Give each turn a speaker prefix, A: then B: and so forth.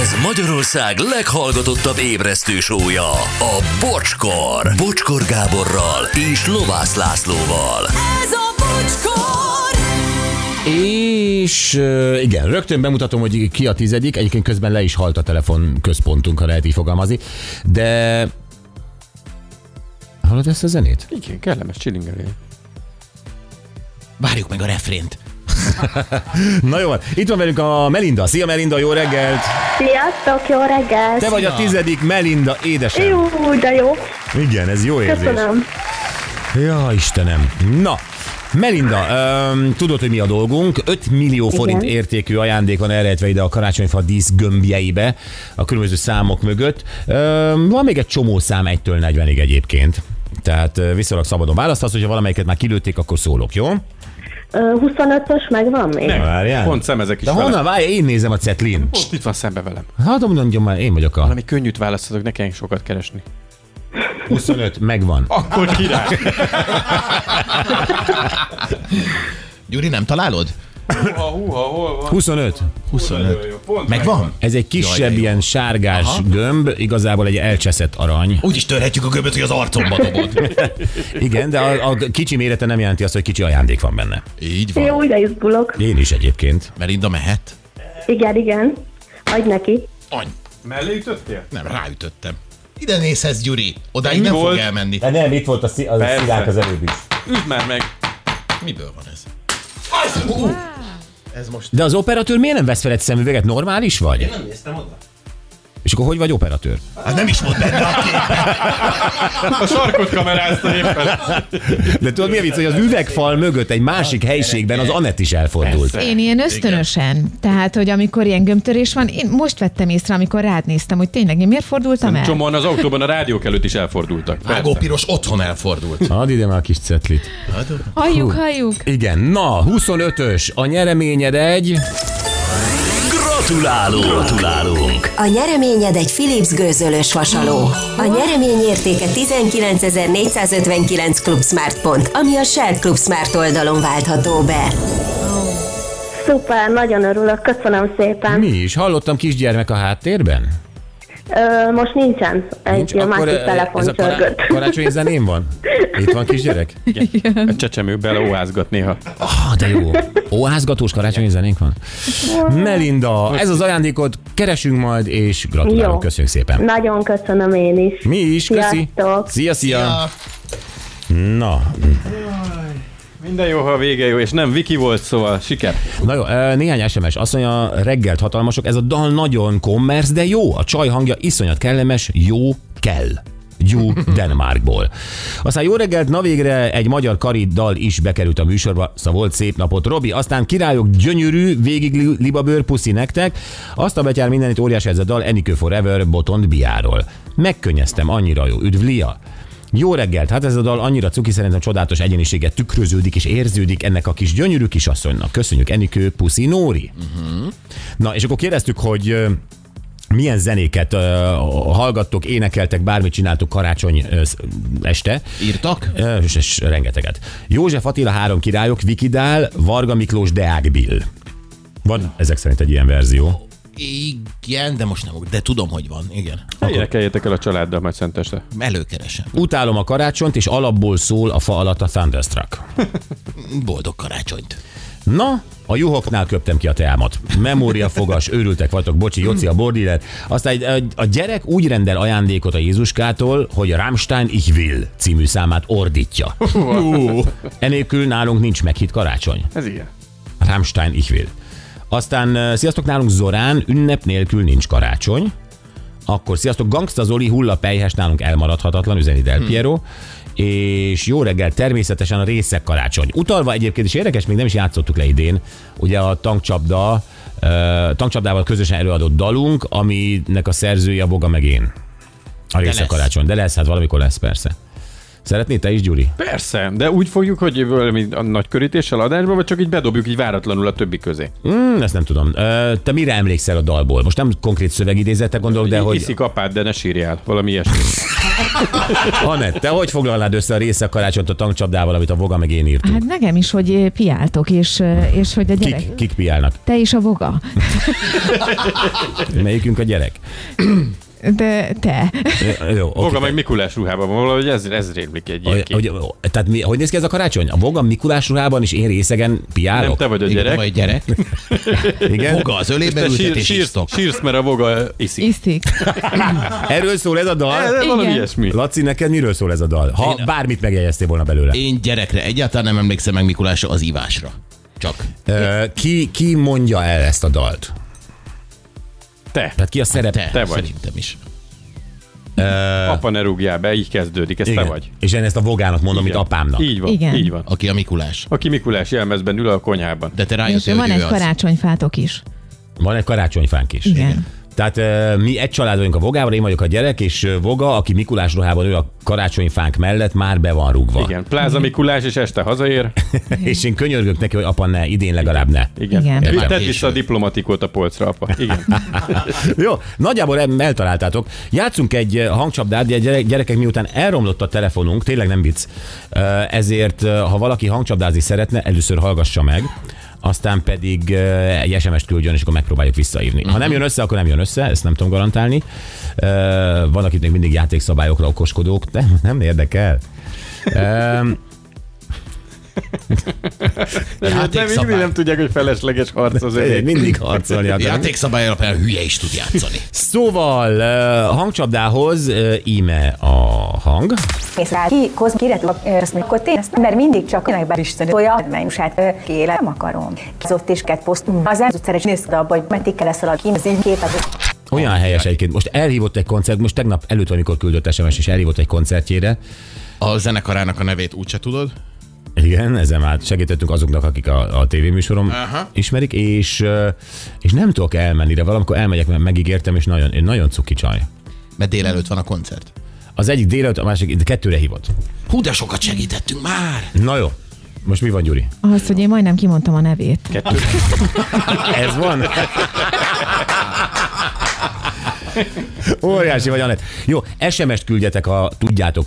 A: Ez Magyarország leghallgatottabb ébresztő sója, a Bocskor. Bocskor Gáborral és Lovász Lászlóval.
B: Ez a bocskor!
C: És ö, igen, rögtön bemutatom, hogy ki a tizedik. Egyébként közben le is halt a telefon központunk, ha lehet így fogalmazni. De... Hallod ezt a zenét?
D: Igen, kellemes csilingelé.
E: Várjuk meg a refrént.
C: Na jó, van. itt van velünk a Melinda. Szia Melinda, jó reggelt!
F: Sziasztok, jó reggelt!
C: Te vagy a tizedik Melinda édesem.
F: Jó, de jó.
C: Igen, ez jó érzés.
F: Köszönöm.
C: Ja, Istenem. Na, Melinda, öm, tudod, hogy mi a dolgunk. 5 millió forint
F: Igen.
C: értékű ajándék van elrejtve ide a karácsonyfa dísz gömbjeibe, a különböző számok mögött. Öm, van még egy csomó szám 1-től 40-ig egyébként. Tehát ö, viszonylag szabadon választasz, hogyha valamelyiket már kilőtték, akkor szólok, jó?
F: Ö, 25-ös megvan még?
C: Nem. Várjál.
D: Pont szemezek is
C: De
D: vele.
C: honnan várja? Én nézem a cetlin.
D: Most itt van szembe velem.
C: Hát mondom, már én vagyok a
D: Valami könnyűt választatok, ne kelljen sokat keresni.
C: 25, megvan.
D: Akkor király.
E: Gyuri, nem találod?
D: Húha, húha, hol van?
C: 25.
E: 25. Megvan?
C: Ez egy kisebb
E: Jaj, de jó.
C: ilyen sárgás Aha. gömb, igazából egy elcseszett arany.
E: Úgy is törhetjük a gömböt, hogy az arcomba dobod.
C: Igen, de a, a kicsi mérete nem jelenti azt, hogy kicsi ajándék van benne.
E: Így van.
F: Jó, de izgulok.
C: Én is egyébként.
E: Melinda mehet.
F: Igen, igen. Adj neki.
E: Any,
D: Mellé ütöttél?
E: nem, ráütöttem. Ide nézhetsz, Gyuri. Odáig nem
D: volt?
E: fog elmenni.
C: De E, nem, itt volt a, szí- a
D: Persze.
C: szirák az előbb is.
D: Üd már meg.
E: Hát Miből van ez? Az, ú, ez most
C: De az operatőr miért nem vesz fel egy szemüveget? Normális vagy? Én nem néztem oda. És akkor hogy vagy operatőr?
E: Hát nem is volt benne a kép.
D: A sarkot kamerázta éppen.
C: De tudod mi a vicc, hogy az üvegfal mögött egy másik helyiségben az Anett is elfordult.
G: Én ilyen ösztönösen. Tehát, hogy amikor ilyen gömtörés van, én most vettem észre, amikor rád néztem, hogy tényleg én miért fordultam el.
D: Csomóan az autóban a rádiók előtt is elfordultak.
E: Vágó piros otthon elfordult.
C: Add ide már a kis cetlit.
G: Halljuk, halljuk.
C: Igen, na, 25-ös, a nyereményed egy...
A: Gratulálunk! Gratulálunk!
B: A nyereményed egy Philips gőzölős vasaló. A nyeremény értéke 19.459 Club Smart pont, ami a Shell Club Smart oldalon váltható be.
F: Szuper, nagyon örülök, köszönöm szépen.
C: Mi is? Hallottam kisgyermek a háttérben?
F: Ö, most nincsen egy másik
C: eh,
F: telefon
C: ez a
F: csörgött.
C: kará- karácsonyi zeném van? Itt van kisgyerek?
D: A csecsemő beleóházgat néha.
C: Ah, de jó. Óházgatós karácsonyi zenénk van. Melinda, ez az ajándékot keresünk majd, és gratulálunk.
F: Jó.
C: Köszönjük szépen.
F: Nagyon köszönöm én is.
C: Mi is, köszi.
F: Sziasztok.
C: Szia, szia. Na,
D: Minden jó, ha a vége jó, és nem Viki volt, szóval siker.
C: na jó, eh, néhány SMS. Azt mondja, reggelt hatalmasok, ez a dal nagyon kommersz, de jó. A csaj hangja iszonyat kellemes, jó kell. Gyú Denmarkból. Aztán jó reggelt, na végre egy magyar karid dal is bekerült a műsorba, szóval volt szép napot, Robi. Aztán királyok gyönyörű, végig li- libabőr, puszi nektek. Azt a betyár mindenit óriás ez a dal, Enikő Forever, Botond Biáról. Megkönnyeztem, annyira jó. Üdv, Lia! Jó reggelt! Hát ez a dal annyira cuki, szerintem csodálatos egyenisége tükröződik és érződik ennek a kis gyönyörű kisasszonynak. Köszönjük, Enikő Puszi Nóri! Uh-huh. Na, és akkor kérdeztük, hogy ö, milyen zenéket uh, hallgattok, énekeltek, bármit csináltok karácsony ö, sz- este.
E: Írtak?
C: Ö, És, és rengeteget. József Attila, Három Királyok, Vikidál, Varga Miklós, Deák Bill. Van ezek szerint egy ilyen verzió.
E: Igen, de most nem. De tudom, hogy van. Igen.
D: Énekeljetek el a családdal majd szenteste.
E: Előkeresem.
C: Utálom a karácsonyt, és alapból szól a fa alatt a Thunderstruck.
E: Boldog karácsonyt.
C: Na, a juhoknál köptem ki a teámat. Memóriafogas, őrültek vagytok, bocsi, Joci a bordiller. Aztán egy- egy- a gyerek úgy rendel ajándékot a Jézuskától, hogy a Rammstein Ich will című számát ordítja. Ú, Enélkül nálunk nincs meghitt karácsony.
D: Ez ilyen.
C: Rammstein Ich will. Aztán ö, sziasztok nálunk Zorán, ünnep nélkül nincs karácsony. Akkor sziasztok, Gangsta Zoli hulla pejhes nálunk elmaradhatatlan, üzeni Del Piero. És jó reggel, természetesen a részek karácsony. Utalva egyébként is érdekes, még nem is játszottuk le idén, ugye a tankcsapda, ö, tankcsapdával közösen előadott dalunk, aminek a szerzője a Boga meg én. A részek
E: lesz.
C: karácsony, de lesz, hát valamikor lesz persze. Szeretnéd te is, Gyuri?
D: Persze, de úgy fogjuk, hogy valami a nagy körítéssel adásba, vagy csak így bedobjuk így váratlanul a többi közé.
C: Hmm, ezt nem tudom. Ö, te mire emlékszel a dalból? Most nem konkrét szövegidézetre gondolok, de
D: De
C: hogy...
D: Iszik apád, de ne sírjál, valami ilyesmi.
C: Anett, te hogy foglalnád össze a része karácsonyt a tankcsapdával, amit a Voga meg én írtunk?
G: Hát nekem is, hogy eh, piáltok, és, eh, és hogy a gyerek...
C: Kik, kik piálnak?
G: Te is a voga.
C: Melyikünk a gyerek?
G: De te.
C: Ö, Jó, oké.
D: Maga meg Mikulás ruhában van, valahogy ez, ez rémlik egy ilyen
C: Hogy,
D: kép.
C: hogy, ó, tehát mi, hogy néz ki ez a karácsony? A Voga Mikulás ruhában is én részegen piálok?
D: Nem te vagy a
E: Igen,
D: gyerek.
E: vagy gyerek.
C: Igen?
E: Foga az
D: Te
E: ölébe ültet
D: sír,
E: és
D: sírsz,
E: isztok.
D: sírsz, mert a voga iszik. Ah,
G: Iszik.
C: Erről szól ez a dal?
D: Ez valami
G: Igen.
D: ilyesmi.
C: Laci, neked miről szól ez a dal? Ha
E: Én-
C: bármit megjegyeztél volna belőle.
E: Én gyerekre egyáltalán nem emlékszem meg Mikulásra az ivásra. Csak.
C: Ö, ki, ki mondja el ezt a dalt?
D: Te,
C: Tehát ki a szerep?
E: Te,
D: Te vagy.
E: Szerintem is.
D: apa ne rúgjál be, így kezdődik, ez te
C: Igen.
D: vagy.
C: És én ezt a vogának mondom, mint
D: Igen.
C: apámnak.
D: Így van,
G: Igen.
D: így van.
E: Aki a Mikulás.
D: Aki Mikulás jelmezben ül a konyhában.
E: De te
G: És
E: rájöttél,
G: van
E: hogy
G: egy
E: ő az.
G: karácsonyfátok is.
C: Van egy karácsonyfánk is.
G: Igen.
C: Tehát ö, mi egy család vagyunk a Vogával, én vagyok a gyerek, és ö, Voga, aki Mikulás ruhában ő a karácsonyfánk mellett, már be van rúgva.
D: Igen, pláza Mikulás, és este hazaér.
C: És én könyörgök neki, hogy apa ne, idén legalább ne.
D: Igen.
G: Igen.
D: Igen.
E: Már
D: Tedd
E: késő.
D: vissza a diplomatikót a polcra, apa. Igen.
C: Jó, nagyjából em- eltaláltátok. Játszunk egy ö, hangcsapdát, de gyere- gyerekek, miután elromlott a telefonunk, tényleg nem vicc, ö, ezért ö, ha valaki hangcsapdázni szeretne, először hallgassa meg, aztán pedig ö, egy SMS-t küldjön, és akkor megpróbáljuk visszaívni. Ha nem jön össze, akkor nem jön össze, ezt nem tudom garantálni. Ö, Van, akit még mindig játékszabályokra okoskodók, de nem érdekel. Ö,
D: Nem,
E: Játékszabály.
D: nem, nem tudják, hogy felesleges harc az övé.
C: Mindig harcolni akarnak.
E: Játékszabály alapján hülye is tud játszani.
C: Szóval ö, hangcsapdához ö, íme a hang.
H: Észre ki, koz, kiretva, ezt még koté, ezt mert mindig csak tényleg beristen, tolja, mennyusát, kéle, nem akarom. Ez ott is kett poszt, az ez utcára is nézd abba, hogy meddig kell lesz alakítani, az én képet.
C: Olyan helyes egyébként. Most elhívott egy koncert, most tegnap előtt, amikor küldött SMS, és elhívott egy koncertjére.
E: A zenekarának a nevét úgyse tudod?
C: Igen, ezen már segítettünk azoknak, akik a, a tévéműsorom Aha. ismerik, és, ö, és nem tudok elmenni, de valamikor elmegyek, mert megígértem, és nagyon, nagyon cuki csaj.
E: Mert délelőtt van a koncert.
C: Az egyik délelőtt, a másik de kettőre hívott.
E: Hú, de sokat segítettünk már!
C: Na jó, most mi van, Gyuri?
G: Az, hogy én majdnem kimondtam a nevét.
C: Ez van? Óriási vagy, Anett. Jó, SMS-t küldjetek, ha tudjátok